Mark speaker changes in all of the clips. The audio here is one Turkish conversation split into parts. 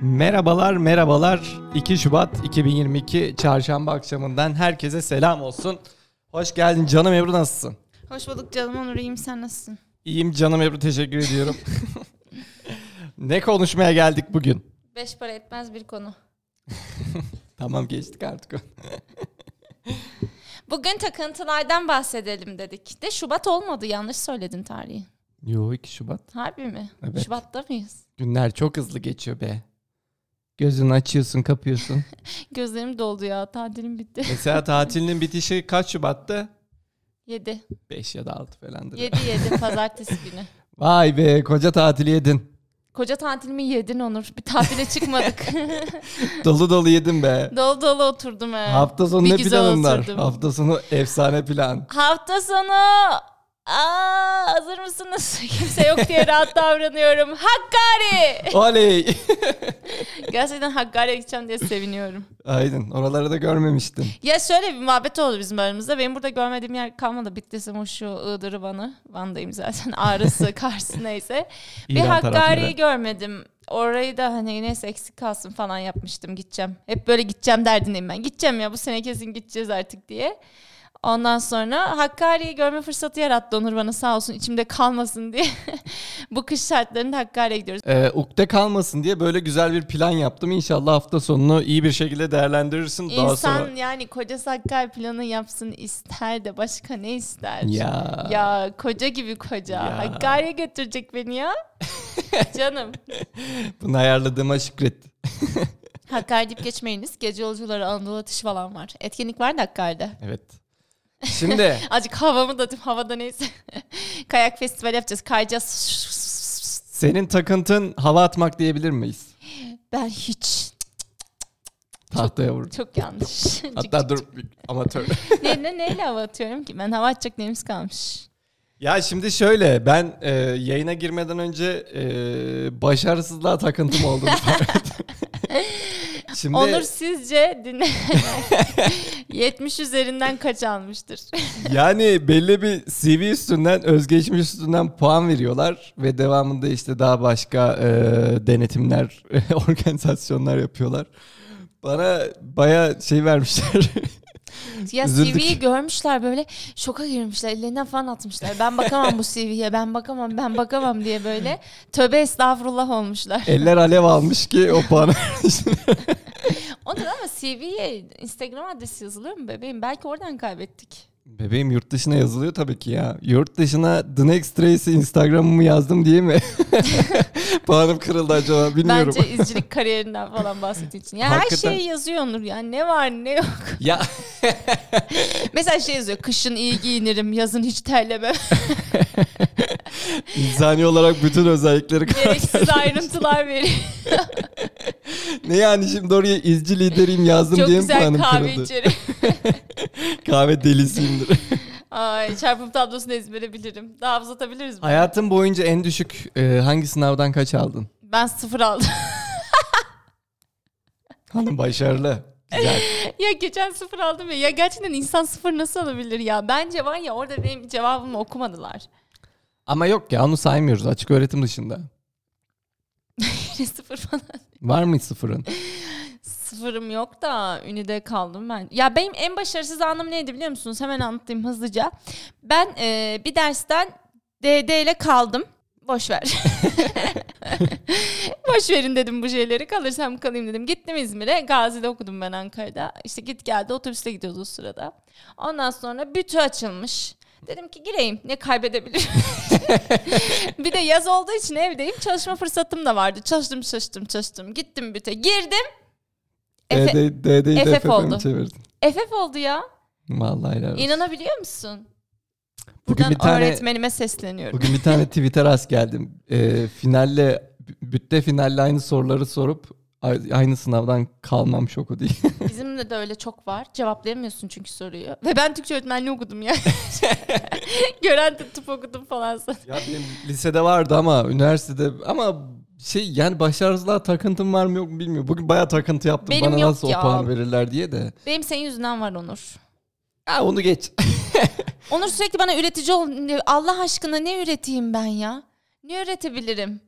Speaker 1: Merhabalar, merhabalar. 2 Şubat 2022 Çarşamba akşamından herkese selam olsun. Hoş geldin canım Ebru nasılsın?
Speaker 2: Hoş bulduk canım Onur iyiyim sen nasılsın?
Speaker 1: İyiyim canım Ebru teşekkür ediyorum. ne konuşmaya geldik bugün?
Speaker 2: Beş para etmez bir konu.
Speaker 1: Tamam geçtik artık.
Speaker 2: Bugün takıntılardan bahsedelim dedik. De Şubat olmadı yanlış söyledin tarihi.
Speaker 1: Yo 2 Şubat.
Speaker 2: Harbi mi?
Speaker 1: Evet.
Speaker 2: Şubat'ta mıyız?
Speaker 1: Günler çok hızlı geçiyor be. Gözünü açıyorsun kapıyorsun.
Speaker 2: Gözlerim doldu ya tatilim bitti.
Speaker 1: Mesela tatilinin bitişi kaç Şubat'tı?
Speaker 2: Yedi.
Speaker 1: 5 ya da 6 falandır.
Speaker 2: Yedi yedi pazartesi günü.
Speaker 1: Vay be koca tatili yedin.
Speaker 2: Koca tatilimi yedin Onur. Bir tatile çıkmadık.
Speaker 1: Dolu dolu yedin be.
Speaker 2: dolu dolu oturdum he.
Speaker 1: Hafta sonu
Speaker 2: Bir
Speaker 1: ne
Speaker 2: güzel
Speaker 1: planınlar?
Speaker 2: oturdum.
Speaker 1: Hafta sonu efsane plan.
Speaker 2: Hafta sonu Aa, hazır mısınız? Kimse yok diye rahat davranıyorum. Hakkari!
Speaker 1: Oley!
Speaker 2: Gerçekten Hakkari'ye gideceğim diye seviniyorum.
Speaker 1: Aydın oraları da görmemiştin.
Speaker 2: Ya şöyle bir muhabbet oldu bizim aramızda. Benim burada görmediğim yer kalmadı. Bitlis'im şu Iğdır'ı Van'ı. Van'dayım zaten. Ağrısı, Kars'ı neyse. bir
Speaker 1: İran
Speaker 2: Hakkari'yi
Speaker 1: tarafları.
Speaker 2: görmedim. Orayı da hani neyse eksik kalsın falan yapmıştım. Gideceğim. Hep böyle gideceğim derdindeyim ben. Gideceğim ya bu sene kesin gideceğiz artık diye. Ondan sonra Hakkari'yi görme fırsatı yarattı Onur bana sağ olsun içimde kalmasın diye. bu kış şartlarında Hakkari'ye gidiyoruz.
Speaker 1: Ee, ukde kalmasın diye böyle güzel bir plan yaptım. İnşallah hafta sonunu iyi bir şekilde değerlendirirsin. Daha
Speaker 2: İnsan
Speaker 1: sonra...
Speaker 2: yani kocası Hakkari planı yapsın ister de başka ne ister?
Speaker 1: Ya.
Speaker 2: Ya koca gibi koca.
Speaker 1: Ya.
Speaker 2: Hakkari'ye götürecek beni ya. Canım.
Speaker 1: Bunu ayarladığıma şükret.
Speaker 2: Hakkari deyip geçmeyiniz. Gece yolcuları Anadolu atışı falan var. Etkinlik var da Hakkari'de.
Speaker 1: Evet. Şimdi
Speaker 2: Azıcık havamı da atayım. Havada neyse. Kayak festivali yapacağız. Kayacağız.
Speaker 1: senin takıntın hava atmak diyebilir miyiz?
Speaker 2: Ben hiç.
Speaker 1: Tahtaya vur.
Speaker 2: Çok yanlış.
Speaker 1: Hatta dur bir amatör.
Speaker 2: ne, ne, neyle hava atıyorum ki? Ben hava atacak neyimiz kalmış.
Speaker 1: ya şimdi şöyle ben e, yayına girmeden önce e, başarısızlığa takıntım olduğunu fark ettim. Şimdi
Speaker 2: Onur sizce dinle. 70 üzerinden kaç almıştır?
Speaker 1: Yani belli bir CV üstünden, özgeçmiş üstünden puan veriyorlar ve devamında işte daha başka e, denetimler, organizasyonlar yapıyorlar. Bana baya şey vermişler.
Speaker 2: Ya
Speaker 1: Üzüldük.
Speaker 2: CV'yi görmüşler böyle şoka girmişler ellerinden falan atmışlar. Ben bakamam bu CV'ye ben bakamam ben bakamam diye böyle tövbe estağfurullah olmuşlar.
Speaker 1: Eller alev almış ki o puanı vermişler.
Speaker 2: Ondan ama CV'ye Instagram adresi yazılıyor mu bebeğim? Belki oradan kaybettik.
Speaker 1: Bebeğim yurt dışına yazılıyor tabii ki ya. Yurt dışına The Next Race'i Instagram'ımı yazdım diye mi? Puanım kırıldı acaba bilmiyorum.
Speaker 2: Bence izcilik kariyerinden falan bahsettiğin için. Ya her
Speaker 1: Hakikaten.
Speaker 2: şeyi yazıyor Onur ya ne var ne yok.
Speaker 1: Ya
Speaker 2: Mesela şey yazıyor kışın iyi giyinirim yazın hiç terlemem.
Speaker 1: insani olarak bütün özellikleri
Speaker 2: Gereksiz ayrıntılar veriyor.
Speaker 1: Ne yani şimdi oraya izci lideriyim yazdım
Speaker 2: Çok
Speaker 1: diye mi
Speaker 2: güzel
Speaker 1: puanım
Speaker 2: kahve
Speaker 1: kırıldı?
Speaker 2: içerim.
Speaker 1: Kahve delisiyimdir.
Speaker 2: Ay çarpım tablosunu ezbere bilirim. Daha uzatabiliriz mi?
Speaker 1: Hayatın boyunca en düşük e, hangi sınavdan kaç aldın?
Speaker 2: Ben sıfır aldım.
Speaker 1: Hanım başarılı. Güzel.
Speaker 2: Ya geçen sıfır aldım ya. Ya gerçekten insan sıfır nasıl alabilir ya? Bence var ya orada benim cevabımı okumadılar.
Speaker 1: Ama yok ya onu saymıyoruz açık öğretim dışında.
Speaker 2: Yine sıfır falan.
Speaker 1: Var mı hiç sıfırın?
Speaker 2: Sıfırım yok da ünide kaldım ben. Ya benim en başarısız anım neydi biliyor musunuz? Hemen anlatayım hızlıca. Ben e, bir dersten DD ile kaldım. Boş ver. Boş verin dedim bu şeyleri. Kalırsam kalayım dedim. Gittim İzmir'e. Gazi'de okudum ben Ankara'da. İşte git geldi otobüste gidiyoruz o sırada. Ondan sonra bütü açılmış. Dedim ki gireyim ne kaybedebilirim. bir de yaz olduğu için evdeyim. Çalışma fırsatım da vardı. Çalıştım çalıştım çalıştım. Gittim büte girdim. Efe-
Speaker 1: DD DD'yi de
Speaker 2: FF
Speaker 1: FF'e mi
Speaker 2: oldu.
Speaker 1: çevirdin?
Speaker 2: FF oldu ya.
Speaker 1: Vallahi helal olsun.
Speaker 2: İnanabiliyor musun?
Speaker 1: Bugün
Speaker 2: Buradan
Speaker 1: bir tane-
Speaker 2: öğretmenime sesleniyorum.
Speaker 1: Bugün bir tane Twitter rast geldim. E, finalle, bütte finalle aynı soruları sorup a- aynı sınavdan kalmam şoku diye.
Speaker 2: Bizimle de öyle çok var. Cevaplayamıyorsun çünkü soruyu. Ve ben Türkçe öğretmenliği okudum ya. Gören de tıp okudum falan sana.
Speaker 1: ya benim lisede vardı ama üniversitede ama şey yani başarısızlığa takıntım var mı yok mu bilmiyorum. Bugün bayağı takıntı yaptım.
Speaker 2: Benim
Speaker 1: Bana
Speaker 2: yok
Speaker 1: nasıl
Speaker 2: ya.
Speaker 1: o puan verirler diye de.
Speaker 2: Benim senin yüzünden var Onur.
Speaker 1: Ya onu geç.
Speaker 2: Onur sürekli bana üretici ol. Allah aşkına ne üreteyim ben ya? Ne üretebilirim?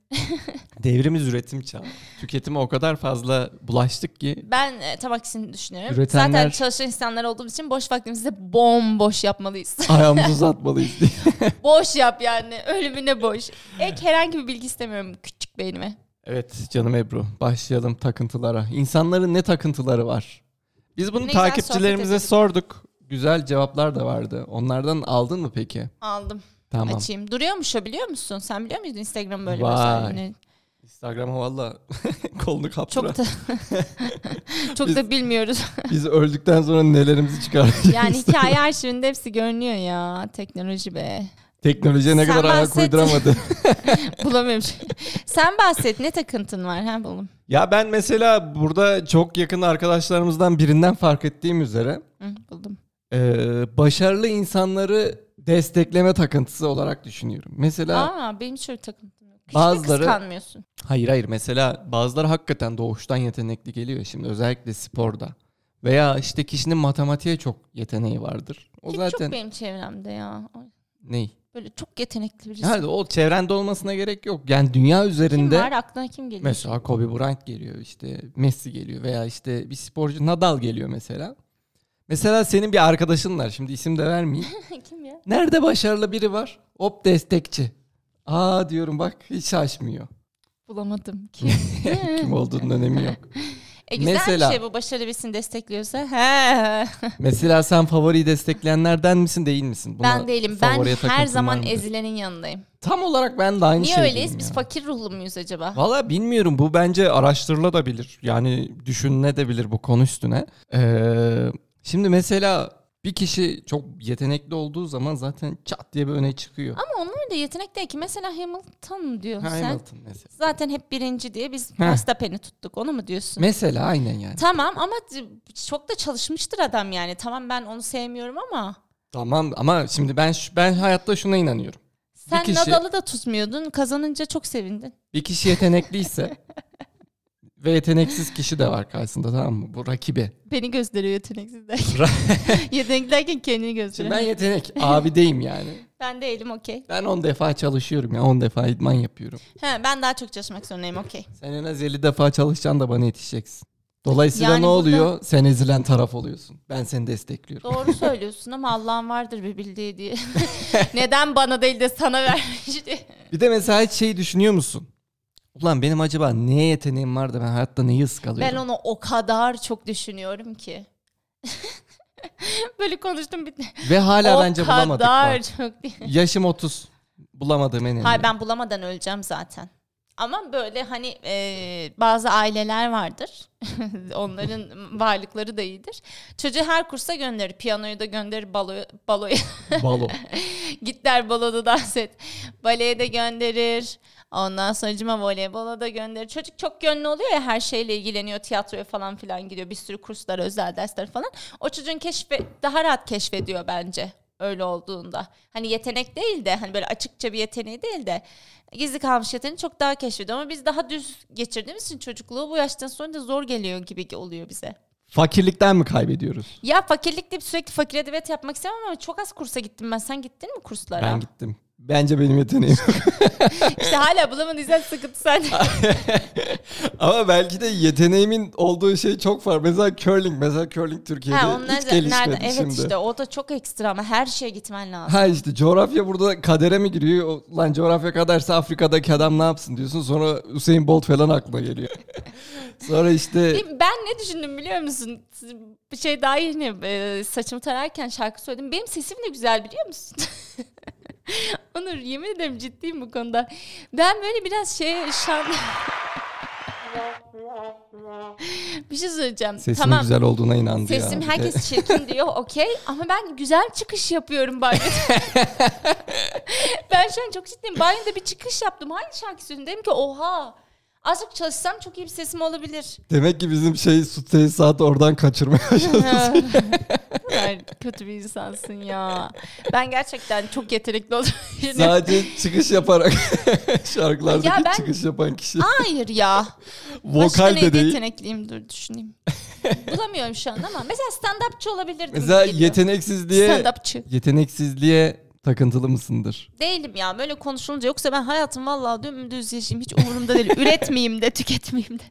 Speaker 1: Devrimiz üretim çağı. Tüketime o kadar fazla bulaştık ki
Speaker 2: Ben e, tam aksini düşünüyorum.
Speaker 1: Üretenler-
Speaker 2: Zaten çalışan insanlar olduğumuz için boş vaktimizi de bomboş yapmalıyız.
Speaker 1: ayağımızı uzatmalıyız diye.
Speaker 2: boş yap yani. Ölümüne boş. Ek herhangi bir bilgi istemiyorum küçük beynime.
Speaker 1: Evet canım Ebru başlayalım takıntılara. İnsanların ne takıntıları var? Biz bunu
Speaker 2: Ne güzel
Speaker 1: takipçilerimize
Speaker 2: sohbet
Speaker 1: sorduk. Güzel cevaplar da vardı. Onlardan aldın mı peki?
Speaker 2: Aldım.
Speaker 1: Tamam.
Speaker 2: Açayım. Duruyormuş o biliyor musun? Sen biliyor muydun Instagram böyle bir
Speaker 1: Vay.
Speaker 2: özelliğini?
Speaker 1: Instagram'a valla kolunu kaptıran.
Speaker 2: Çok da çok da bilmiyoruz.
Speaker 1: Biz öldükten sonra nelerimizi çıkaracağız.
Speaker 2: Yani hikaye arşivinde hepsi görünüyor ya. Teknoloji be.
Speaker 1: Teknolojiye ne
Speaker 2: Sen
Speaker 1: kadar ayak
Speaker 2: bahset.
Speaker 1: uyduramadı.
Speaker 2: Bulamıyorum. Sen bahset ne takıntın var ha bulum.
Speaker 1: ya ben mesela burada çok yakın arkadaşlarımızdan birinden fark ettiğim üzere
Speaker 2: Hı, buldum.
Speaker 1: e, başarılı insanları destekleme takıntısı olarak düşünüyorum. Mesela
Speaker 2: Aa benim şöyle takıntım yok. Hiç
Speaker 1: Bazıları-
Speaker 2: Bazıları... kıskanmıyorsun.
Speaker 1: Hayır hayır mesela bazıları hakikaten doğuştan yetenekli geliyor şimdi özellikle sporda. Veya işte kişinin matematiğe çok yeteneği vardır. O
Speaker 2: Hiç
Speaker 1: zaten
Speaker 2: çok benim çevremde ya. Ay,
Speaker 1: ney?
Speaker 2: Böyle çok yetenekli birisi.
Speaker 1: Yani o çevrende olmasına gerek yok. Yani dünya
Speaker 2: kim
Speaker 1: üzerinde
Speaker 2: var aklına kim geliyor?
Speaker 1: mesela Kobe Bryant geliyor işte Messi geliyor veya işte bir sporcu Nadal geliyor mesela. Mesela senin bir arkadaşın var şimdi isim de vermeyeyim.
Speaker 2: kim ya?
Speaker 1: Nerede başarılı biri var? Hop destekçi. Aa diyorum bak hiç şaşmıyor.
Speaker 2: Bulamadım kim.
Speaker 1: Kim olduğunun önemi yok.
Speaker 2: E güzel
Speaker 1: Mesela-
Speaker 2: bir şey bu başarı birisini destekliyorsa. He.
Speaker 1: Mesela sen favoriyi destekleyenlerden misin değil misin? Buna
Speaker 2: ben değilim. Ben
Speaker 1: favoriye
Speaker 2: her
Speaker 1: takıntın var
Speaker 2: zaman
Speaker 1: mıdır?
Speaker 2: ezilenin yanındayım.
Speaker 1: Tam olarak ben de aynı
Speaker 2: Niye
Speaker 1: şeydeyim
Speaker 2: öyleyiz? Biz
Speaker 1: ya.
Speaker 2: fakir ruhlu muyuz acaba?
Speaker 1: Valla bilmiyorum bu bence araştırılabilir. Yani düşünülebilir bu konu üstüne. Ee, şimdi mesela bir kişi çok yetenekli olduğu zaman zaten çat diye bir öne çıkıyor.
Speaker 2: Ama onlar da yetenek değil ki. Mesela Hamilton diyorsun sen.
Speaker 1: Hamilton mesela.
Speaker 2: Zaten hep birinci diye biz
Speaker 1: Heh.
Speaker 2: Verstappen'i tuttuk. Onu mu diyorsun?
Speaker 1: Mesela aynen yani.
Speaker 2: Tamam ama çok da çalışmıştır adam yani. Tamam ben onu sevmiyorum ama
Speaker 1: Tamam ama şimdi ben şu- ben hayatta şuna inanıyorum.
Speaker 2: sen
Speaker 1: kişi-
Speaker 2: Nadal'ı da tutmuyordun. Kazanınca çok sevindin.
Speaker 1: Bir kişi yetenekliyse ve yeteneksiz kişi de var karşısında tamam mı? Bu rakibi.
Speaker 2: Beni gösteriyor yeteneksiz derken. yetenekli derken kendini
Speaker 1: Şimdi
Speaker 2: gösteriyor.
Speaker 1: ben
Speaker 2: Ben...
Speaker 1: yetenek abideyim yani.
Speaker 2: değilim okey.
Speaker 1: Ben 10 defa çalışıyorum ya 10 defa idman yapıyorum.
Speaker 2: He, ben daha çok çalışmak zorundayım okey.
Speaker 1: Sen en az 50 defa çalışacaksın da bana yetişeceksin. Dolayısıyla
Speaker 2: Yani
Speaker 1: ne
Speaker 2: burada-
Speaker 1: oluyor? Sen ezilen taraf oluyorsun. Ben seni destekliyorum.
Speaker 2: Doğru söylüyorsun ama Allah'ın vardır bir bildiği diye. Neden bana değil de sana vermiş diye.
Speaker 1: Bir de mesela hiç şey düşünüyor musun? Ulan benim acaba neye yeteneğim var da ben hayatta neyi ıskalıyorum?
Speaker 2: Ben onu o kadar çok düşünüyorum ki. Böyle konuştum bitti.
Speaker 1: Ve hala
Speaker 2: o
Speaker 1: bence
Speaker 2: kadar
Speaker 1: bulamadık. bak. Hmm.
Speaker 2: çok diye.
Speaker 1: Yaşım 30. Bulamadım en önemli.
Speaker 2: Hayır ben bulamadan öleceğim zaten. Ama böyle hani e, bazı aileler vardır. Onların varlıkları da iyidir. Çocuğu her kursa gönderir. Piyanoyu da gönderir, baloya, baloya.
Speaker 1: Balo.
Speaker 2: Git der baloda dans et. Baleye de gönderir. Ondan sonra voleybola da gönderir. Çocuk çok gönlü oluyor ya her şeyle ilgileniyor. Tiyatroya falan filan gidiyor. Bir sürü kurslar, özel dersler falan. O çocuğun keşfe, daha rahat keşfediyor bence öyle olduğunda. Hani yetenek değil de hani böyle açıkça bir yeteneği değil de gizli kalmış yeteneği çok daha keşfediyor. Ama biz daha düz geçirdiğimiz için çocukluğu bu yaştan sonra da zor geliyor gibi oluyor bize.
Speaker 1: Fakirlikten mi kaybediyoruz?
Speaker 2: Ya fakirlik deyip sürekli fakir edebiyat yapmak istemem ama çok az kursa gittim ben. Sen gittin mi kurslara?
Speaker 1: Ben gittim. Bence benim yeteneğim.
Speaker 2: İşte hala bulamadıysan sıkıntı sende.
Speaker 1: Ama belki de yeteneğimin olduğu şey çok farklı. Mesela curling. Mesela curling Türkiye'de
Speaker 2: ha, onlar
Speaker 1: hiç
Speaker 2: da
Speaker 1: gelişmedi
Speaker 2: nerede? Evet
Speaker 1: şimdi.
Speaker 2: işte o da çok ekstra ama her şeye gitmen lazım.
Speaker 1: Ha işte coğrafya burada kadere mi giriyor? O- Lan coğrafya kaderse Afrika'daki adam ne yapsın diyorsun. Sonra Hüseyin Bolt falan aklına geliyor. sonra işte
Speaker 2: Benim- Ben ne düşündüm biliyor musun? Bir şey daha yeni e, saçımı tararken şarkı söyledim. Benim sesim de güzel biliyor musun? Onur yemin ederim ciddiyim bu konuda. Ben böyle biraz şey şan... bir şey söyleyeceğim.
Speaker 1: sesimin
Speaker 2: tamam.
Speaker 1: güzel olduğuna inandı ya.
Speaker 2: Sesim
Speaker 1: Bir de-
Speaker 2: herkes çirkin diyor okey ama ben güzel çıkış yapıyorum banyoda. ben şu an çok ciddiyim. Banyoda bir çıkış yaptım. Hangi şarkı söyledim? Dedim ki oha azıcık çalışsam çok iyi bir sesim olabilir.
Speaker 1: Demek ki bizim şey su tesisatı oradan kaçırmaya başladı.
Speaker 2: Yani kötü bir insansın ya. Ben gerçekten çok yetenekli olurum.
Speaker 1: Sadece çıkış yaparak şarkılardaki
Speaker 2: Ya ben-
Speaker 1: çıkış yapan kişi.
Speaker 2: Hayır ya. Başka
Speaker 1: Vokal
Speaker 2: neydi
Speaker 1: de değil.
Speaker 2: yetenekliyim dur düşüneyim. Bulamıyorum şu an ama mesela stand-upçı olabilirdim.
Speaker 1: Mesela
Speaker 2: gibi geliyor.
Speaker 1: yeteneksizliğe
Speaker 2: Stand-upçı.
Speaker 1: yeteneksizliğe Takıntılı mısındır?
Speaker 2: Değilim ya böyle konuşulunca yoksa ben hayatım vallahi dümdüz yaşayayım hiç umurumda değil. Üretmeyeyim de tüketmeyeyim de.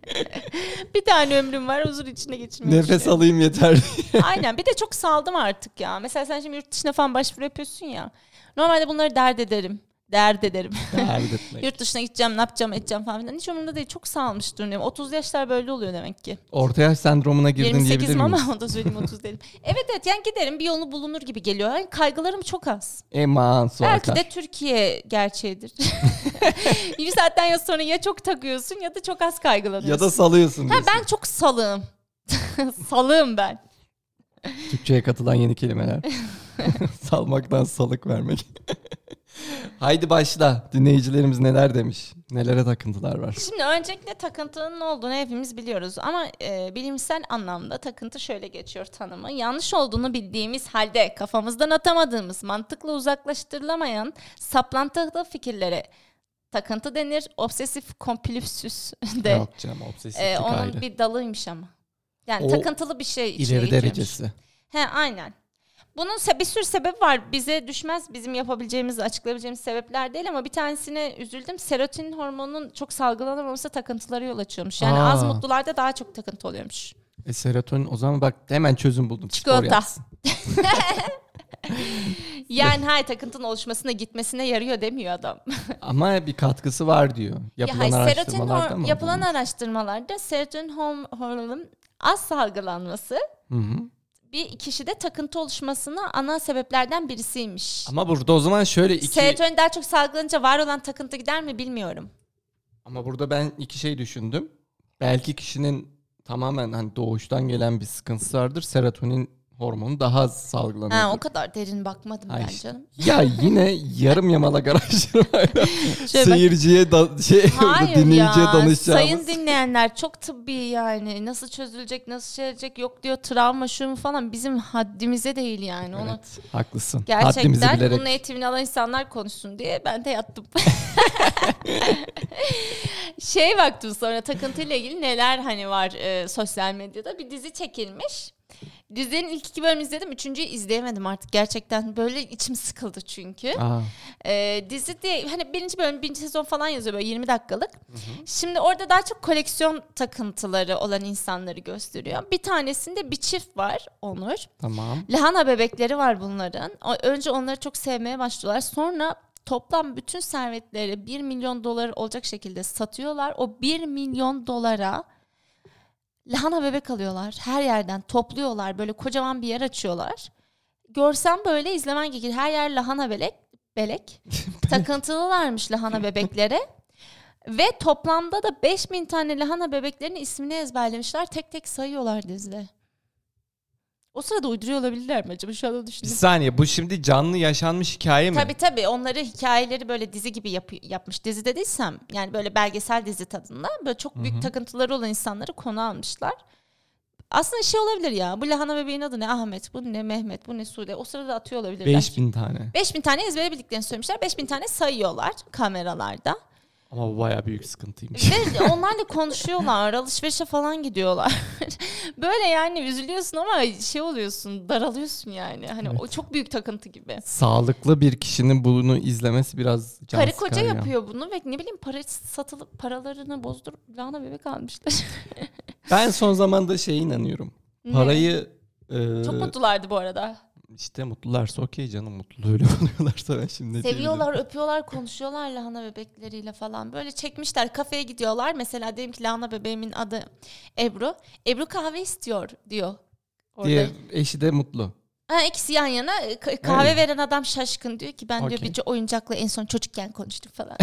Speaker 2: bir tane ömrüm var huzur içinde geçirmeyi
Speaker 1: Nefes alayım yeter.
Speaker 2: Aynen bir de çok saldım artık ya. Mesela sen şimdi yurt dışına falan başvuru yapıyorsun ya. Normalde bunları dert ederim. Dert ederim.
Speaker 1: Dert etmek.
Speaker 2: yurt dışına gideceğim ne yapacağım edeceğim falan filan. Hiç umurumda değil çok salmış durumdayım. 30 yaşlar böyle oluyor demek ki.
Speaker 1: Orta yaş sendromuna girdin
Speaker 2: 28
Speaker 1: diyebilir
Speaker 2: mi ama
Speaker 1: miyiz?
Speaker 2: onu da söyleyeyim 30 değilim. Evet evet yani giderim bir yolunu bulunur gibi geliyor. Yani kaygılarım çok az.
Speaker 1: Eman
Speaker 2: Belki
Speaker 1: Soğakar.
Speaker 2: de Türkiye gerçeğidir. bir saatten ya sonra ya çok takıyorsun ya da çok az
Speaker 1: Ya
Speaker 2: kaygılanıyorsun.
Speaker 1: da salıyorsun
Speaker 2: ha,
Speaker 1: diyorsun.
Speaker 2: ben çok salığım. salığım ben.
Speaker 1: Türkçe'ye katılan yeni kelimeler. Salmaktan salık vermek. Haydi başla. Dinleyicilerimiz neler demiş? Nelere takıntılar var?
Speaker 2: Şimdi öncelikle takıntının ne olduğunu hepimiz biliyoruz ama e, bilimsel anlamda takıntı şöyle geçiyor tanımı. Yanlış olduğunu bildiğimiz halde kafamızdan atamadığımız, mantıkla uzaklaştırılamayan saplantılı fikirlere takıntı denir. Obsesif kompulsüs
Speaker 1: Ne
Speaker 2: de
Speaker 1: yapacağım? Obsesiflik
Speaker 2: e, onun
Speaker 1: ayrı.
Speaker 2: bir dalıymış ama. Yani
Speaker 1: O
Speaker 2: takıntılı bir şey içine
Speaker 1: İleri
Speaker 2: giriyormuş.
Speaker 1: derecesi.
Speaker 2: He aynen. Bunun se- bir sürü sebebi var. Bize düşmez bizim yapabileceğimiz, açıklayabileceğimiz sebepler değil ama bir tanesine üzüldüm. Serotonin hormonunun çok salgılanamaması takıntılara yol açıyormuş. Yani
Speaker 1: Aa.
Speaker 2: az mutlularda daha çok takıntı oluyormuş.
Speaker 1: E, serotonin o zaman bak hemen çözüm buldum. Spor
Speaker 2: Çikolata.
Speaker 1: yapsın.
Speaker 2: Yani hayır takıntının oluşmasına gitmesine yarıyor demiyor adam.
Speaker 1: Ama bir katkısı var diyor.
Speaker 2: Ya
Speaker 1: Yapılan
Speaker 2: hayır, serotonin
Speaker 1: araştırmalarda
Speaker 2: hor-
Speaker 1: mı?
Speaker 2: yapılan araştırmalarda serotonin horm- hormonunun az salgılanması
Speaker 1: Hı hı.
Speaker 2: bir kişide takıntı oluşmasına ana sebeplerden birisiymiş.
Speaker 1: Ama burada o zaman şöyle iki...
Speaker 2: Serotonin daha çok salgılanınca var olan takıntı gider mi bilmiyorum.
Speaker 1: Ama burada ben iki şey düşündüm. Belki kişinin tamamen hani doğuştan gelen bir sıkıntısı vardır. Serotonin hormonu daha az salgılanıyor.
Speaker 2: Ha, o kadar derin bakmadım
Speaker 1: Ay
Speaker 2: ben
Speaker 1: işte.
Speaker 2: canım.
Speaker 1: Ya yine yarım yamalak araştırmayla
Speaker 2: Şöyle bak-
Speaker 1: seyirciye da, şey
Speaker 2: Hayır
Speaker 1: dinleyiciye
Speaker 2: ya sayın
Speaker 1: danışacağımız.
Speaker 2: dinleyenler çok tıbbi yani nasıl çözülecek nasıl şey edecek yok diyor travma şu mu falan bizim haddimize değil yani onu
Speaker 1: Evet, haklısın. Haddimizi
Speaker 2: gerçekten
Speaker 1: bilerek.
Speaker 2: bunun eğitimini alan insanlar konuşsun diye ben de yattım. şey baktım sonra takıntıyla ilgili neler hani var e, sosyal medyada bir dizi çekilmiş. Dizinin ilk iki bölümünü izledim. Üçüncüyü izleyemedim artık. Gerçekten böyle içim sıkıldı çünkü.
Speaker 1: Aa,
Speaker 2: Ee, dizi diye hani birinci bölüm birinci sezon falan yazıyor böyle 20 dakikalık. Şimdi orada daha çok koleksiyon takıntıları olan insanları gösteriyor. Bir tanesinde bir çift var Onur.
Speaker 1: tamam.
Speaker 2: Lahana bebekleri var bunların. O- Önce onları çok sevmeye başlıyorlar. Sonra toplam bütün servetleri 1 milyon dolar olacak şekilde satıyorlar. O 1 milyon dolara lahana bebek alıyorlar. Her yerden topluyorlar. Böyle kocaman bir yer açıyorlar. Görsen böyle izlemen gerekir. Her yer lahana belek. Belek. Takıntılılarmış lahana bebeklere. Ve toplamda da 5000 tane lahana bebeklerinin ismini ezberlemişler. Tek tek sayıyorlar dizide. O sırada uyduruyor olabilirler mi acaba? Şu anda
Speaker 1: Bir
Speaker 2: düşündüm.
Speaker 1: saniye bu şimdi canlı yaşanmış hikaye mi?
Speaker 2: Tabii tabii onları hikayeleri böyle dizi gibi yapı- yapmış. Dizi dediysem yani böyle belgesel dizi tadında böyle çok büyük takıntıları olan insanları konu almışlar. Aslında şey olabilir ya bu lahana bebeğin adı ne Ahmet bu ne Mehmet bu ne Sude o sırada atıyor olabilirler.
Speaker 1: 5000 tane.
Speaker 2: 5000 tane ezbere bildiklerini söylemişler. 5000 tane sayıyorlar kameralarda.
Speaker 1: Ama bu bayağı büyük sıkıntıymış.
Speaker 2: Ve onlarla konuşuyorlar. Alışverişe falan gidiyorlar. Böyle yani üzülüyorsun ama şey oluyorsun, daralıyorsun yani. Hani o çok büyük takıntı gibi.
Speaker 1: Sağlıklı bir kişinin bunu izlemesi biraz can
Speaker 2: Karı
Speaker 1: sıkar
Speaker 2: koca
Speaker 1: ya.
Speaker 2: yapıyor bunu ve ne bileyim para satılıp paralarını bozdurup lahana bebek almışlar.
Speaker 1: Ben son zamanda şeye inanıyorum.
Speaker 2: Ne?
Speaker 1: Parayı e,
Speaker 2: Çok mutlulardı bu arada.
Speaker 1: İşte mutlularsa okey canım mutlu öyle oluyorlarsa ben şimdi ne diyebilirim?
Speaker 2: Seviyorlar, öpüyorlar, konuşuyorlar lahana bebekleriyle falan. Böyle çekmişler, kafeye gidiyorlar. Mesela diyelim ki lahana bebeğimin adı Ebru. Ebru kahve istiyor diyor. Orada.
Speaker 1: Diğer eşi de mutlu.
Speaker 2: Ha, ikisi yan yana e, ka- kahve
Speaker 1: Öyle.
Speaker 2: veren adam şaşkın diyor ki ben diyor
Speaker 1: Okey.
Speaker 2: bir oyuncakla en son çocukken konuştum falan.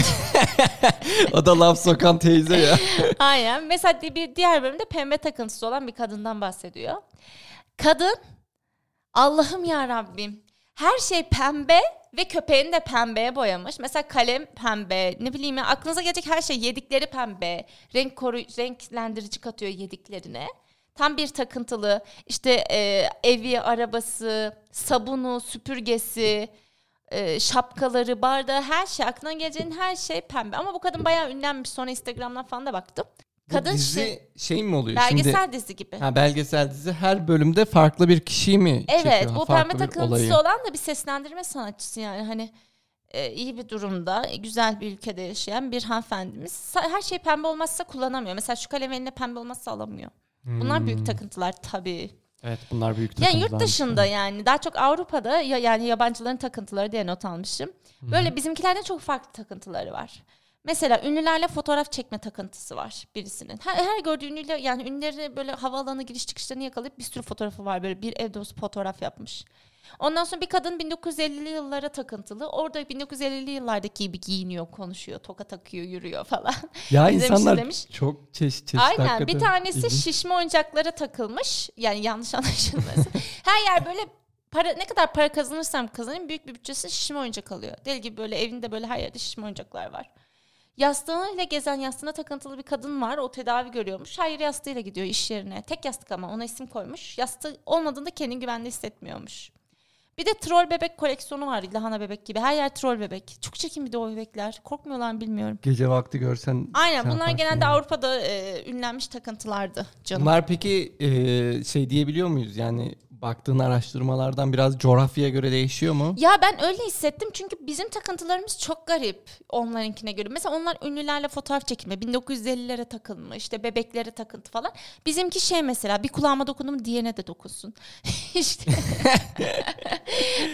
Speaker 1: O da laf sokan teyze ya.
Speaker 2: Aynen. Mesela di- bir diğer bölümde pembe takıntısı olan bir kadından bahsediyor. Kadın Allah'ım ya Rabbim her şey pembe ve köpeğini de pembeye boyamış. Mesela kalem pembe, ne bileyim ya aklınıza gelecek her şey yedikleri pembe. Renk koru renklendirici katıyor yediklerine. Tam bir takıntılı. İşte e, evi, arabası, sabunu, süpürgesi, e, şapkaları, bardağı her şey aklına geleceğin her şey pembe. Ama bu kadın bayağı ünlenmiş. Sonra Instagram'dan falan da baktım.
Speaker 1: Bu
Speaker 2: Kadın
Speaker 1: dizi
Speaker 2: şey-
Speaker 1: şey mi oluyor?
Speaker 2: Belgesel
Speaker 1: Şimdi,
Speaker 2: dizi gibi.
Speaker 1: ha, belgesel dizi her bölümde farklı bir kişiyi mi çekiyor?
Speaker 2: Evet bu
Speaker 1: Şey Farklı
Speaker 2: pembe
Speaker 1: bir
Speaker 2: takıntısı
Speaker 1: olayı.
Speaker 2: olan da bir seslendirme sanatçısı yani hani e, iyi bir durumda e, güzel bir ülkede yaşayan bir hanımefendimiz Sa- her şey pembe olmazsa kullanamıyor. Mesela şu kalem eline pembe olmazsa alamıyor. Bunlar
Speaker 1: Hmm.
Speaker 2: büyük takıntılar tabii.
Speaker 1: Evet bunlar büyük
Speaker 2: Yani
Speaker 1: takıntılarmış.
Speaker 2: yurt dışında yani daha çok Avrupa'da ya, yani yabancıların takıntıları diye not almışım. Böyle bizimkilerde çok farklı takıntıları var. Mesela ünlülerle fotoğraf çekme takıntısı var birisinin. Her, her gördüğü ünlüyle yani ünlüleri böyle havaalanı giriş çıkışlarını yakalayıp bir sürü fotoğrafı var. Böyle bir ev dolusu fotoğraf yapmış. Ondan sonra bir kadın 1950'li yıllara takıntılı. Orada 1950'li yıllardaki gibi giyiniyor, konuşuyor, toka takıyor, yürüyor falan.
Speaker 1: Ya
Speaker 2: İzlemişsin
Speaker 1: insanlar
Speaker 2: demiş.
Speaker 1: çok çeşit çeşit
Speaker 2: Aynen
Speaker 1: hakikaten
Speaker 2: bir tanesi
Speaker 1: ilginç.
Speaker 2: şişme oyuncaklara takılmış. Yani yanlış anlaşılmasın. Her yer böyle para ne kadar para kazanırsam kazanayım büyük bir bütçesi şişme oyuncak alıyor. Deli gibi böyle evinde böyle her yerde şişme oyuncaklar var. Yastığıyla gezen yastığına takıntılı bir kadın var. O tedavi görüyormuş. Hayır yastığıyla gidiyor iş yerine. Tek yastık ama ona isim koymuş. Yastığı olmadığında kendini güvende hissetmiyormuş. Bir de troll bebek koleksiyonu var. Lahana bebek gibi. Her yer troll bebek. Çok çirkin bir de o bebekler. Korkmuyorlar mı bilmiyorum.
Speaker 1: Gece vakti görsen
Speaker 2: Aynen
Speaker 1: sen
Speaker 2: bunlar
Speaker 1: yaparsın
Speaker 2: genelde
Speaker 1: yani.
Speaker 2: Avrupa'da e, ünlenmiş takıntılardı canım.
Speaker 1: Bunlar peki e, şey diyebiliyor muyuz? Yani baktığın araştırmalardan biraz coğrafyaya göre değişiyor mu?
Speaker 2: Ya ben öyle hissettim çünkü bizim takıntılarımız çok garip onlarınkine göre. Mesela onlar ünlülerle fotoğraf çekme, 1950'lere takılma, işte bebeklere takıntı falan. Bizimki şey mesela bir kulağıma dokundum diğerine de dokunsun. işte.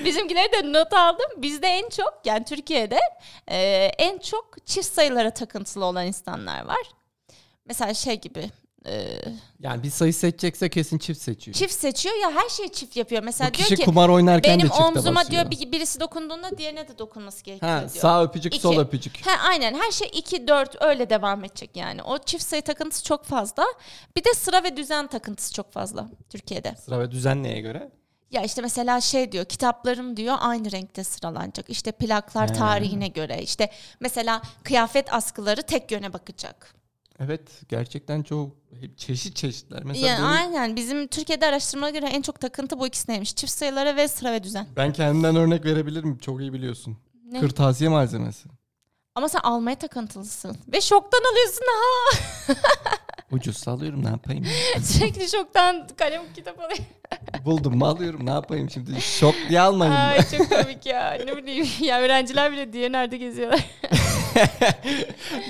Speaker 2: Bizimkileri de not aldım. Bizde en çok yani Türkiye'de e, en çok çift sayılara takıntılı olan insanlar var. Mesela şey gibi e,
Speaker 1: Yani bir sayı seçecekse kesin çift seçiyor.
Speaker 2: çift seçiyor ya her şeyi çift yapıyor. Mesela
Speaker 1: Bu
Speaker 2: diyor
Speaker 1: kişi
Speaker 2: ki
Speaker 1: kumar oynarken de
Speaker 2: benim
Speaker 1: çifte
Speaker 2: omzuma
Speaker 1: basıyor.
Speaker 2: diyor bir- birisi dokunduğunda diğerine de dokunması gerekiyor
Speaker 1: Ha,
Speaker 2: diyor.
Speaker 1: sağ öpücük,
Speaker 2: İki.
Speaker 1: sol öpücük.
Speaker 2: Ha, aynen her şey 2 4 öyle devam edecek yani. O çift sayı takıntısı çok fazla. Bir de sıra ve düzen takıntısı çok fazla Türkiye'de.
Speaker 1: Sıra ve düzen neye göre?
Speaker 2: Ya işte mesela şey diyor kitaplarım diyor aynı renkte sıralanacak. İşte plaklar
Speaker 1: He.
Speaker 2: tarihine göre işte mesela kıyafet askıları tek yöne bakacak.
Speaker 1: Evet, gerçekten çok çeşit çeşitler. Mesela
Speaker 2: Yani
Speaker 1: benim-
Speaker 2: aynen bizim Türkiye'de araştırmalara göre en çok takıntı bu ikisineymiş. Çift sayılara ve sıra ve düzen.
Speaker 1: ben kendimden örnek verebilirim. Çok iyi biliyorsun.
Speaker 2: Ne?
Speaker 1: Kırtasiye malzemesi.
Speaker 2: Ama sen almaya takıntılısın ve şoktan alıyorsun ha.
Speaker 1: Ucuz alıyorum ne yapayım?
Speaker 2: Sürekli şoktan kalem kitap alıyor.
Speaker 1: Buldum mu alıyorum ne yapayım şimdi? Şok diye almayayım. mı?
Speaker 2: Ay çok komik ya. Ne bileyim ya öğrenciler bile diye nerede geziyorlar.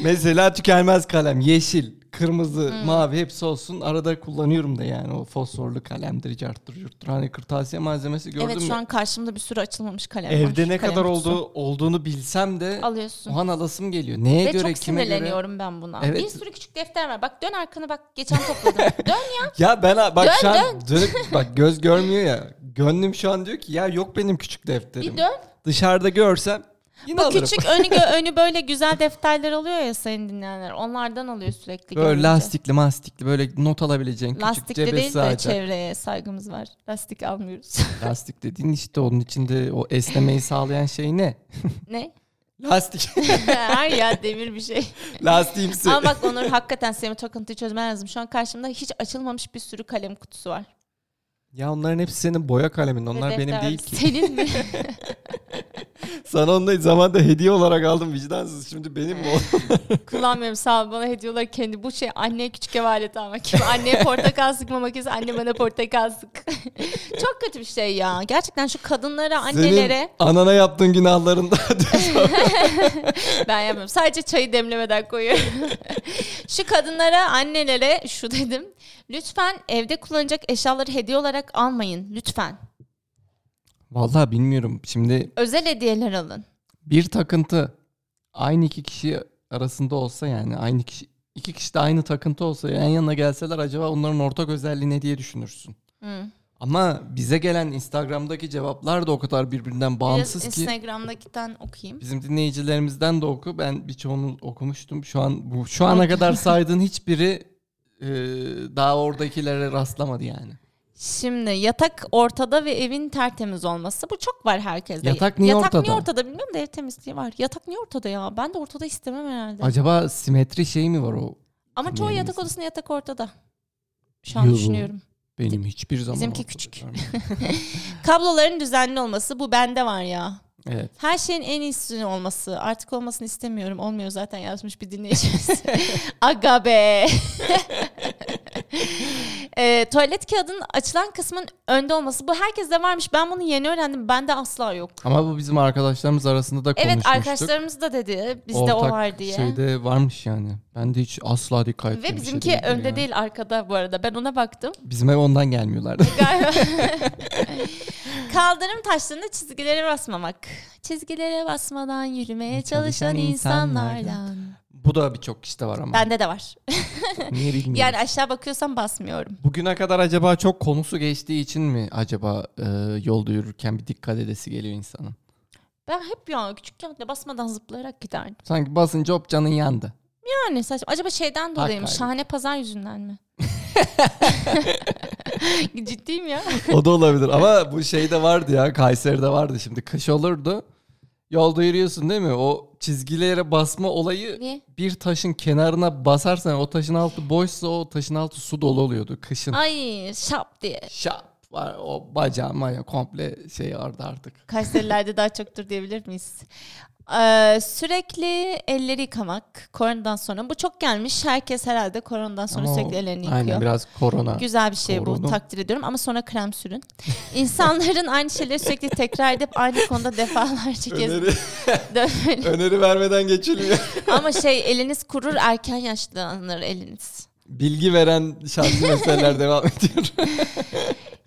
Speaker 1: Mesela tükenmez kalem yeşil, kırmızı,
Speaker 2: Hmm.
Speaker 1: mavi hepsi olsun. Arada kullanıyorum da yani o fosforlu kalemdir, carttır, curttur. Hani kırtasiye malzemesi gördüm
Speaker 2: evet
Speaker 1: mü?
Speaker 2: şu an karşımda bir sürü açılmamış kalem var.
Speaker 1: Evde ne
Speaker 2: Kalem
Speaker 1: kadar
Speaker 2: kutusu.
Speaker 1: olduğu olduğunu bilsem de
Speaker 2: alıyorsun.
Speaker 1: o an alasım geliyor. Neye
Speaker 2: Ve
Speaker 1: göre
Speaker 2: çok
Speaker 1: kime göre?
Speaker 2: sinirleniyorum ben buna.
Speaker 1: Evet.
Speaker 2: Bir sürü küçük defter var. Bak dön arkanı bak geçen topladım. dön ya.
Speaker 1: Ya ben ha- bak
Speaker 2: Dön,
Speaker 1: şu an dönüp- bak göz görmüyor ya. Gönlüm şu an diyor ki ya yok benim küçük defterim.
Speaker 2: Bir dön.
Speaker 1: Dışarıda görsem yine
Speaker 2: Bu
Speaker 1: alırım.
Speaker 2: küçük önü, gö- önü böyle güzel defterler alıyor ya sayın dinleyenler. Onlardan alıyor sürekli.
Speaker 1: böyle
Speaker 2: görünce.
Speaker 1: lastikli mastikli böyle not alabileceğin küçük
Speaker 2: Lastikli
Speaker 1: cebe
Speaker 2: değil de
Speaker 1: sığacak.
Speaker 2: çevreye saygımız var. Lastik almıyoruz.
Speaker 1: Lastik dediğin işte onun içinde o esnemeyi sağlayan şey ne?
Speaker 2: ne?
Speaker 1: Lastik.
Speaker 2: Her ya demir bir şey.
Speaker 1: Lastiğimsi.
Speaker 2: Ama bak Onur hakikaten senin takıntıyı çözmen lazım. Şu an karşımda hiç açılmamış bir sürü kalem kutusu var.
Speaker 1: Ya onların hepsi senin boya kalemin. Onlar
Speaker 2: Ve
Speaker 1: benim
Speaker 2: defter.
Speaker 1: değil ki.
Speaker 2: Senin mi?
Speaker 1: Sana onları zamanda hediye olarak aldım vicdansız. Şimdi benim mi o?
Speaker 2: Kullanmıyorum sağ ol bana hediye olarak kendi. Bu şey anneye küçük ev aleti almak gibi. Anneye portakal sıkma makinesi anne bana portakal sık. Çok kötü bir şey ya. Gerçekten şu kadınlara annelere
Speaker 1: Senin anana yaptığın günahların daha düz var.
Speaker 2: ben yapmıyorum. Sadece çayı demlemeden koyuyorum. şu kadınlara annelere şu dedim. Lütfen evde kullanacak eşyaları hediye olarak almayın. Lütfen.
Speaker 1: Vallahi bilmiyorum. Şimdi
Speaker 2: Özel hediyeler alın.
Speaker 1: bir takıntı aynı iki kişi arasında olsa yani aynı kişi iki kişi de aynı takıntı olsa yan yana gelseler acaba onların ortak özelliği ne diye düşünürsün.
Speaker 2: Hı.
Speaker 1: Ama bize gelen Instagram'daki cevaplar da o kadar birbirinden bağımsız
Speaker 2: Biraz
Speaker 1: ki.
Speaker 2: Instagram'dakinden okuyayım.
Speaker 1: Bizim dinleyicilerimizden de oku. Ben birçoğunu okumuştum. Şu an bu şu ana kadar saydığın hiçbiri e, daha oradakilere rastlamadı yani.
Speaker 2: Şimdi yatak ortada ve evin tertemiz olması. Bu çok var herkeste.
Speaker 1: Yatak niye
Speaker 2: yatak
Speaker 1: ortada?
Speaker 2: niye ortada bilmiyorum da ev temizliği var. Yatak niye ortada ya? Ben de ortada istemem herhalde.
Speaker 1: Acaba simetri şey mi var o?
Speaker 2: Ama çoğu
Speaker 1: Bilmiyorum.
Speaker 2: yatak odasında yatak ortada. Şu an
Speaker 1: Yuh.
Speaker 2: düşünüyorum.
Speaker 1: Benim hiçbir zaman
Speaker 2: Bizimki
Speaker 1: ortada
Speaker 2: küçük.
Speaker 1: görmedim.
Speaker 2: Kabloların düzenli olması bu bende var ya.
Speaker 1: Evet.
Speaker 2: Her şeyin en iyisi olması. Artık olmasını istemiyorum. Olmuyor zaten yazmış bir dinleyicimiz. Aga be. Ee, tuvalet kağıdının açılan kısmın önde olması. Bu herkeste varmış. Ben bunu yeni öğrendim. Bende asla yok.
Speaker 1: Ama bu bizim arkadaşlarımız arasında da
Speaker 2: Evet
Speaker 1: konuşmuştuk.
Speaker 2: arkadaşlarımız da dedi. Bizde o
Speaker 1: Ortak şey
Speaker 2: var diye.
Speaker 1: şeyde varmış yani. Ben de hiç asla dikkat etmemiştim.
Speaker 2: Ve bizimki önde değil arkada bu arada. Ben ona baktım.
Speaker 1: şey Bizim ev ondan gelmiyorlardı.
Speaker 2: Galiba. Kaldırım taşlarında çizgilere basmamak. Çizgilere basmadan yürümeye çalışan,
Speaker 1: Çalışan
Speaker 2: insanlardan.
Speaker 1: insanlardan. Bu da birçok kişide var ama.
Speaker 2: Bende de var.
Speaker 1: Niye bilmiyorum.
Speaker 2: Yani aşağı bakıyorsam basmıyorum.
Speaker 1: Bugüne kadar acaba çok konusu geçtiği için mi acaba e, yolda yürürken bir dikkat edesi geliyor insanın?
Speaker 2: Ben hep yani küçükken de basmadan zıplayarak giderdim.
Speaker 1: Sanki basınca hop canın yandı.
Speaker 2: Yani saçma. Acaba şeyden dolayı mı?
Speaker 1: kaybı.
Speaker 2: Şahane pazar yüzünden mi? Ciddiyim ya.
Speaker 1: o da olabilir ama bu şey de vardı ya Kayseri'de vardı şimdi kış olurdu. Yolda yürüyorsun değil mi? O çizgilere basma olayı
Speaker 2: Niye?
Speaker 1: bir taşın kenarına basarsan o taşın altı boşsa o taşın altı su dolu oluyordu kışın.
Speaker 2: Ay şap diye.
Speaker 1: Şap var o bacağım var ya komple şey vardı artık.
Speaker 2: Kayserilerde daha çoktur diyebilir miyiz? Ee, sürekli elleri yıkamak koronadan sonra. Bu çok gelmiş. Herkes herhalde koronadan sonra
Speaker 1: Ama o-
Speaker 2: sürekli ellerini yıkıyor.
Speaker 1: Aynen biraz korona.
Speaker 2: Güzel bir şey bu
Speaker 1: Korona.
Speaker 2: takdir ediyorum ama sonra krem sürün. İnsanların aynı şeyleri sürekli tekrar edip aynı konuda defalarca kez
Speaker 1: Öneri,
Speaker 2: dönmeli.
Speaker 1: öneri vermeden geçilmiyor.
Speaker 2: ama şey eliniz kurur erken yaşlanır eliniz.
Speaker 1: Bilgi veren şahsi meseleler devam ediyor.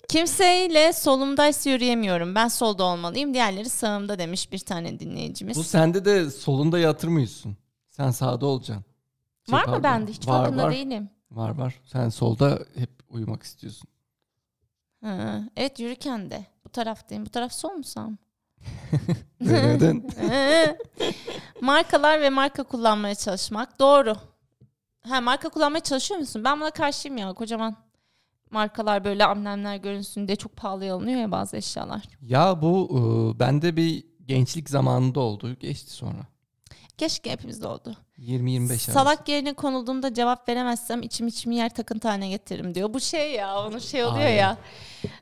Speaker 2: Kimseyle solumdaysa yürüyemiyorum. Ben solda olmalıyım. Diğerleri sağımda demiş bir tane dinleyicimiz.
Speaker 1: Bu şey, sende de solunda yatırmıyorsun. Sen sağda olacaksın. Şey,
Speaker 2: var
Speaker 1: pardon.
Speaker 2: mı bende? Hiç
Speaker 1: var,
Speaker 2: farkında
Speaker 1: var.
Speaker 2: değilim.
Speaker 1: Var var. Sen solda hep uyumak istiyorsun.
Speaker 2: Ha, evet yürürken de. Bu taraftayım. Bu taraf sol mu sağ mı?
Speaker 1: Neden?
Speaker 2: Ee, Markalar ve marka kullanmaya çalışmak. Doğru. Ha marka kullanmaya çalışıyor musun? Ben buna karşıyım ya. Kocaman markalar böyle amblemler görünsün diye çok pahalıya alınıyor ya bazı eşyalar.
Speaker 1: ya bu e, bende bir gençlik zamanında oldu. Geçti sonra.
Speaker 2: Keşke hepimizde oldu.
Speaker 1: 20-25 arası.
Speaker 2: Salak yerine konulduğumda cevap veremezsem içim içimi yer takıntı haline getiririm diyor. Bu şey ya onun şey oluyor
Speaker 1: Aynen.
Speaker 2: ya.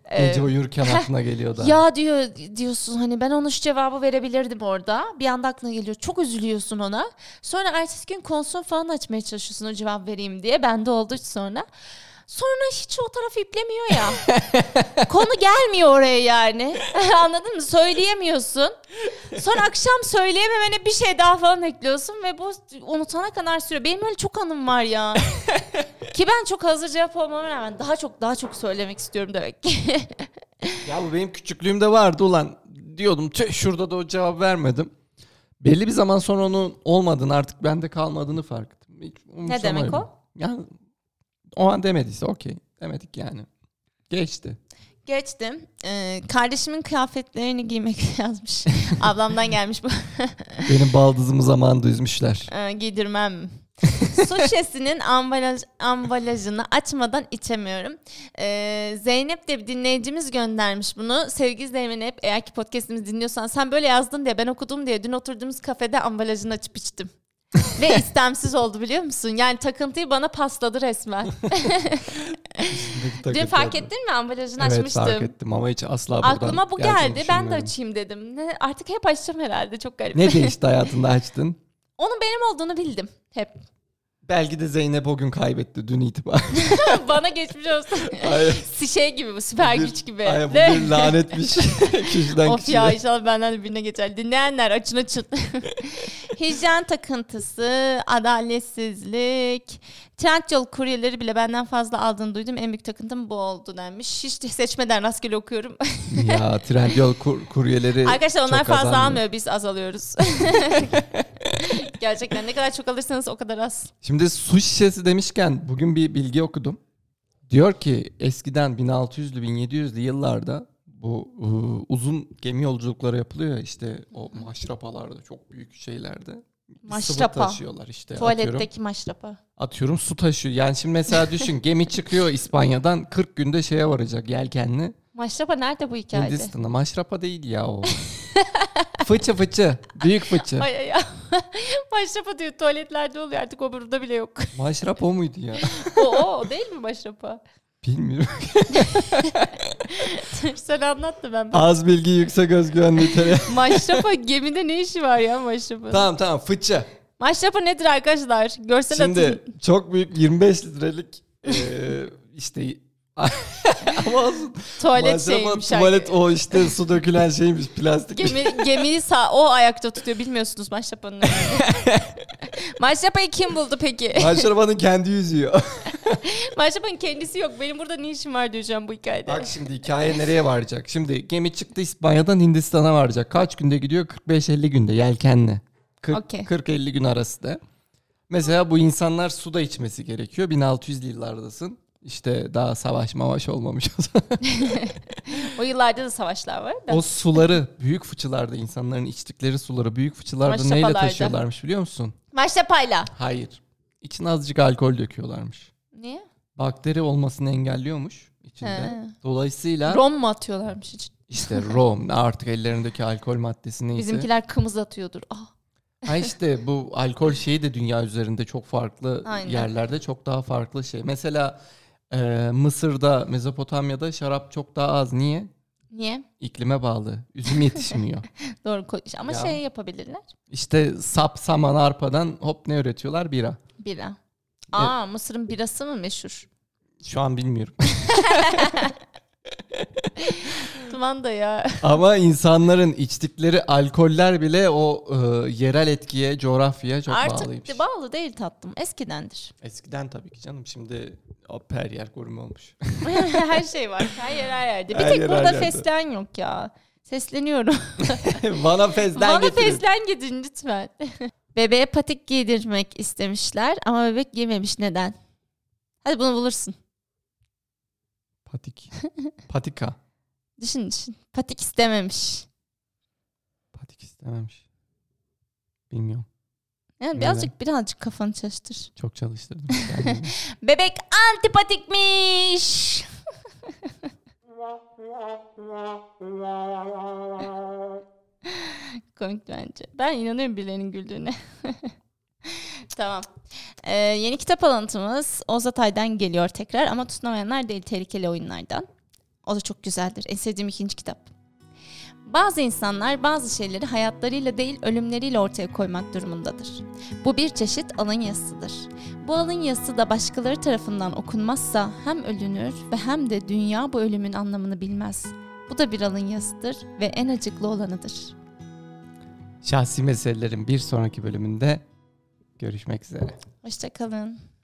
Speaker 2: Ee,
Speaker 1: Gece uyurken aklına geliyor da.
Speaker 2: Ya diyor diyorsun hani ben ona şu cevabı verebilirdim orada. Bir anda aklına geliyor. Çok üzülüyorsun ona. Sonra ertesi gün konsol falan açmaya çalışıyorsun o cevap vereyim diye. Bende oldu sonra. Sonra hiç o tarafı iplemiyor ya. Konu gelmiyor oraya yani. Anladın mı? Söyleyemiyorsun. Sonra akşam söyleyememene bir şey daha falan ekliyorsun ve bu unutana kadar sürüyor. Benim öyle çok anım var ya. Ki ben çok hazır cevap olmama rağmen daha çok daha çok söylemek istiyorum demek ki.
Speaker 1: Ya bu benim küçüklüğümde vardı ulan. Diyordum tüh şurada da o cevap vermedim. Belli bir zaman sonra onun olmadığını artık bende kalmadığını fark ettim. Hiç umursamıyorum.
Speaker 2: demek o?
Speaker 1: Yani o an demediyse okey. Demedik yani. Geçti.
Speaker 2: Geçtim. Ee, kardeşimin kıyafetlerini giymek yazmış. Ablamdan gelmiş bu.
Speaker 1: Benim baldızımı zamanında üzmüşler.
Speaker 2: Ee, giydirmem. Su şişesinin ambalaj, ambalajını açmadan içemiyorum. Ee, Zeynep de bir dinleyicimiz göndermiş bunu. Sevgili Zeynep eğer ki podcastimizi dinliyorsan sen böyle yazdın diye ben okudum diye dün oturduğumuz kafede ambalajını açıp içtim. Ve istemsiz oldu biliyor musun? Yani takıntıyı bana pasladı resmen. Dün fark ettin mi ambalajını
Speaker 1: Evet
Speaker 2: açmıştım.
Speaker 1: fark ettim ama hiç asla buradan
Speaker 2: Aklıma bu
Speaker 1: geleceğini
Speaker 2: geldi. Ben de
Speaker 1: düşünmüyorum.
Speaker 2: açayım dedim. Ne, artık hep açacağım herhalde. Çok garip.
Speaker 1: Ne değişti hayatında açtın?
Speaker 2: Onun benim olduğunu bildim hep.
Speaker 1: Belki de Zeynep o gün kaybetti dün itibaren.
Speaker 2: Bana geçmiş olsun.
Speaker 1: Hayır.
Speaker 2: şey gibi bu süper
Speaker 1: Bir-
Speaker 2: güç gibi.
Speaker 1: Hayır bu
Speaker 2: Ne?
Speaker 1: bir lanetmiş kişiden
Speaker 2: of
Speaker 1: kişiye.
Speaker 2: ya inşallah benden de birine geçer. Dinleyenler açın açın. Hijyen takıntısı, adaletsizlik, Trendyol kuryeleri bile benden fazla aldığını duydum. En büyük takıntım bu oldu denmiş. Hiç seçmeden rastgele okuyorum.
Speaker 1: ya Trendyol kur- kuryeleri
Speaker 2: Arkadaşlar onlar
Speaker 1: E, çok
Speaker 2: fazla
Speaker 1: azalmıyor.
Speaker 2: almıyor biz azalıyoruz. Gerçekten ne kadar çok alırsanız o kadar az.
Speaker 1: Şimdi su şişesi demişken bugün bir bilgi okudum. Diyor ki eskiden 1600'lü 1700'lü yıllarda bu ıı, uzun gemi yolculukları yapılıyor ya, işte o maşrapalarda çok büyük şeylerde. Sıvı
Speaker 2: Maşrapa.
Speaker 1: taşıyorlar işte. E, Atıyorum,
Speaker 2: Tuvaletteki maşrapa.
Speaker 1: atıyorum su taşıyor. Yani şimdi mesela düşün gemi çıkıyor İspanya'dan 40 günde şeye varacak yelkenli.
Speaker 2: Maşrapa nerede bu hikayede?
Speaker 1: Hindistan'a maşrapa değil ya o. fıçı fıçı. Büyük fıçı.
Speaker 2: Ay ay ay. maşrapa diyor tuvaletlerde oluyor artık o burada bile yok.
Speaker 1: Maşrapa o muydu ya?
Speaker 2: o, o, o değil mi maşrapa?
Speaker 1: Bilmiyorum.
Speaker 2: Sen anlat da ben.
Speaker 1: Az bilgi yüksek özgüven niteliği.
Speaker 2: Maşrapa gemide ne işi var ya maşrapa?
Speaker 1: tamam tamam fıça.
Speaker 2: Maşrapa nedir arkadaşlar? Görsel
Speaker 1: Şimdi
Speaker 2: atın.
Speaker 1: çok büyük 25 litrelik eee, işte ama olsun.
Speaker 2: Tuvalet
Speaker 1: Malzeme,
Speaker 2: şeymiş.
Speaker 1: Tuvalet
Speaker 2: hani.
Speaker 1: o işte su dökülen şeymiş plastik.
Speaker 2: Gemi, gemiyi sağ, o ayakta tutuyor bilmiyorsunuz maşrapanın. önemini. Maşrapayı kim buldu peki?
Speaker 1: Maşrabanın kendi yüzüyor.
Speaker 2: Maşrapanın kendisi yok. Benim burada ne işim var diyeceğim bu hikayede.
Speaker 1: Bak şimdi hikaye nereye varacak? Şimdi gemi çıktı İspanya'dan Hindistan'a varacak. Kaç günde gidiyor? 45-50 günde yelkenle. 40,
Speaker 2: Okey.
Speaker 1: 40-50 gün arası da. Mesela bu insanlar su da içmesi gerekiyor. 1600'lü yıllardasın. İşte daha savaş mavaş olmamış o zaman.
Speaker 2: O yıllarda da savaşlar var da.
Speaker 1: O suları büyük fıçılarda insanların içtikleri suları büyük fıçılarda neyle
Speaker 2: Maşrapalarda.
Speaker 1: taşıyorlarmış biliyor musun?
Speaker 2: Maşrapayla.
Speaker 1: Hayır. İçine azıcık alkol döküyorlarmış.
Speaker 2: Niye?
Speaker 1: Bakteri olmasını engelliyormuş içinde.
Speaker 2: He.
Speaker 1: Dolayısıyla
Speaker 2: Rom mu atıyorlarmış için?
Speaker 1: işte rom artık ellerindeki alkol maddesi neyse.
Speaker 2: Bizimkiler kımız atıyordur. Ah.
Speaker 1: Ha işte bu alkol şeyi de dünya üzerinde çok farklı
Speaker 2: Aynen.
Speaker 1: yerlerde çok daha farklı şey. Mesela e, Mısır'da, Mezopotamya'da şarap çok daha az. Niye?
Speaker 2: Niye?
Speaker 1: İklime bağlı. Üzüm yetişmiyor.
Speaker 2: Doğru ko- ama
Speaker 1: Ya.
Speaker 2: şey yapabilirler.
Speaker 1: işte sap, saman, arpadan hop ne üretiyorlar? Bira.
Speaker 2: Bira.
Speaker 1: E-
Speaker 2: Aa Mısır'ın birası mı meşhur?
Speaker 1: Şu an bilmiyorum.
Speaker 2: Duman da ya.
Speaker 1: Ama insanların içtikleri alkoller bile o e, yerel etkiye, coğrafyaya çok bağlıymış.
Speaker 2: Artık bağlı değil tatlım. Eskidendir.
Speaker 1: Eskiden tabii ki canım. Şimdi her yer gurme olmuş.
Speaker 2: her şey var. Her yer her yerde. Bir
Speaker 1: Her
Speaker 2: tek
Speaker 1: yer, her
Speaker 2: burada
Speaker 1: yerde.
Speaker 2: fesleğen yok ya. Sesleniyorum.
Speaker 1: Bana fezden
Speaker 2: Bana
Speaker 1: getirin.
Speaker 2: fesleğen gidin lütfen. Bebeğe patik giydirmek istemişler ama bebek giymemiş. Neden? Hadi bunu bulursun.
Speaker 1: Patik. Patika.
Speaker 2: Düşün düşün. Patik istememiş.
Speaker 1: Patik istememiş. Bilmiyorum.
Speaker 2: Yani
Speaker 1: Neden?
Speaker 2: birazcık birazcık kafanı çalıştır.
Speaker 1: Çok çalıştırdım. kendimi.
Speaker 2: Bebek antipatikmiş. Komik bence. Ben inanıyorum birilerinin güldüğüne. tamam. Ee, yeni kitap alıntımız Oğuz Atay'dan geliyor tekrar ama tutunamayanlar değil tehlikeli oyunlardan. O da çok güzeldir. En sevdiğim ikinci kitap. Bazı insanlar bazı şeyleri hayatlarıyla değil ölümleriyle ortaya koymak durumundadır. Bu bir çeşit alın yazısıdır. Bu alın yazısı da başkaları tarafından okunmazsa hem ölünür ve hem de dünya bu ölümün anlamını bilmez. Bu da bir alın yazısıdır ve en acıklı olanıdır.
Speaker 1: Şahsi meselelerin bir sonraki bölümünde görüşmek üzere.
Speaker 2: Hoşçakalın.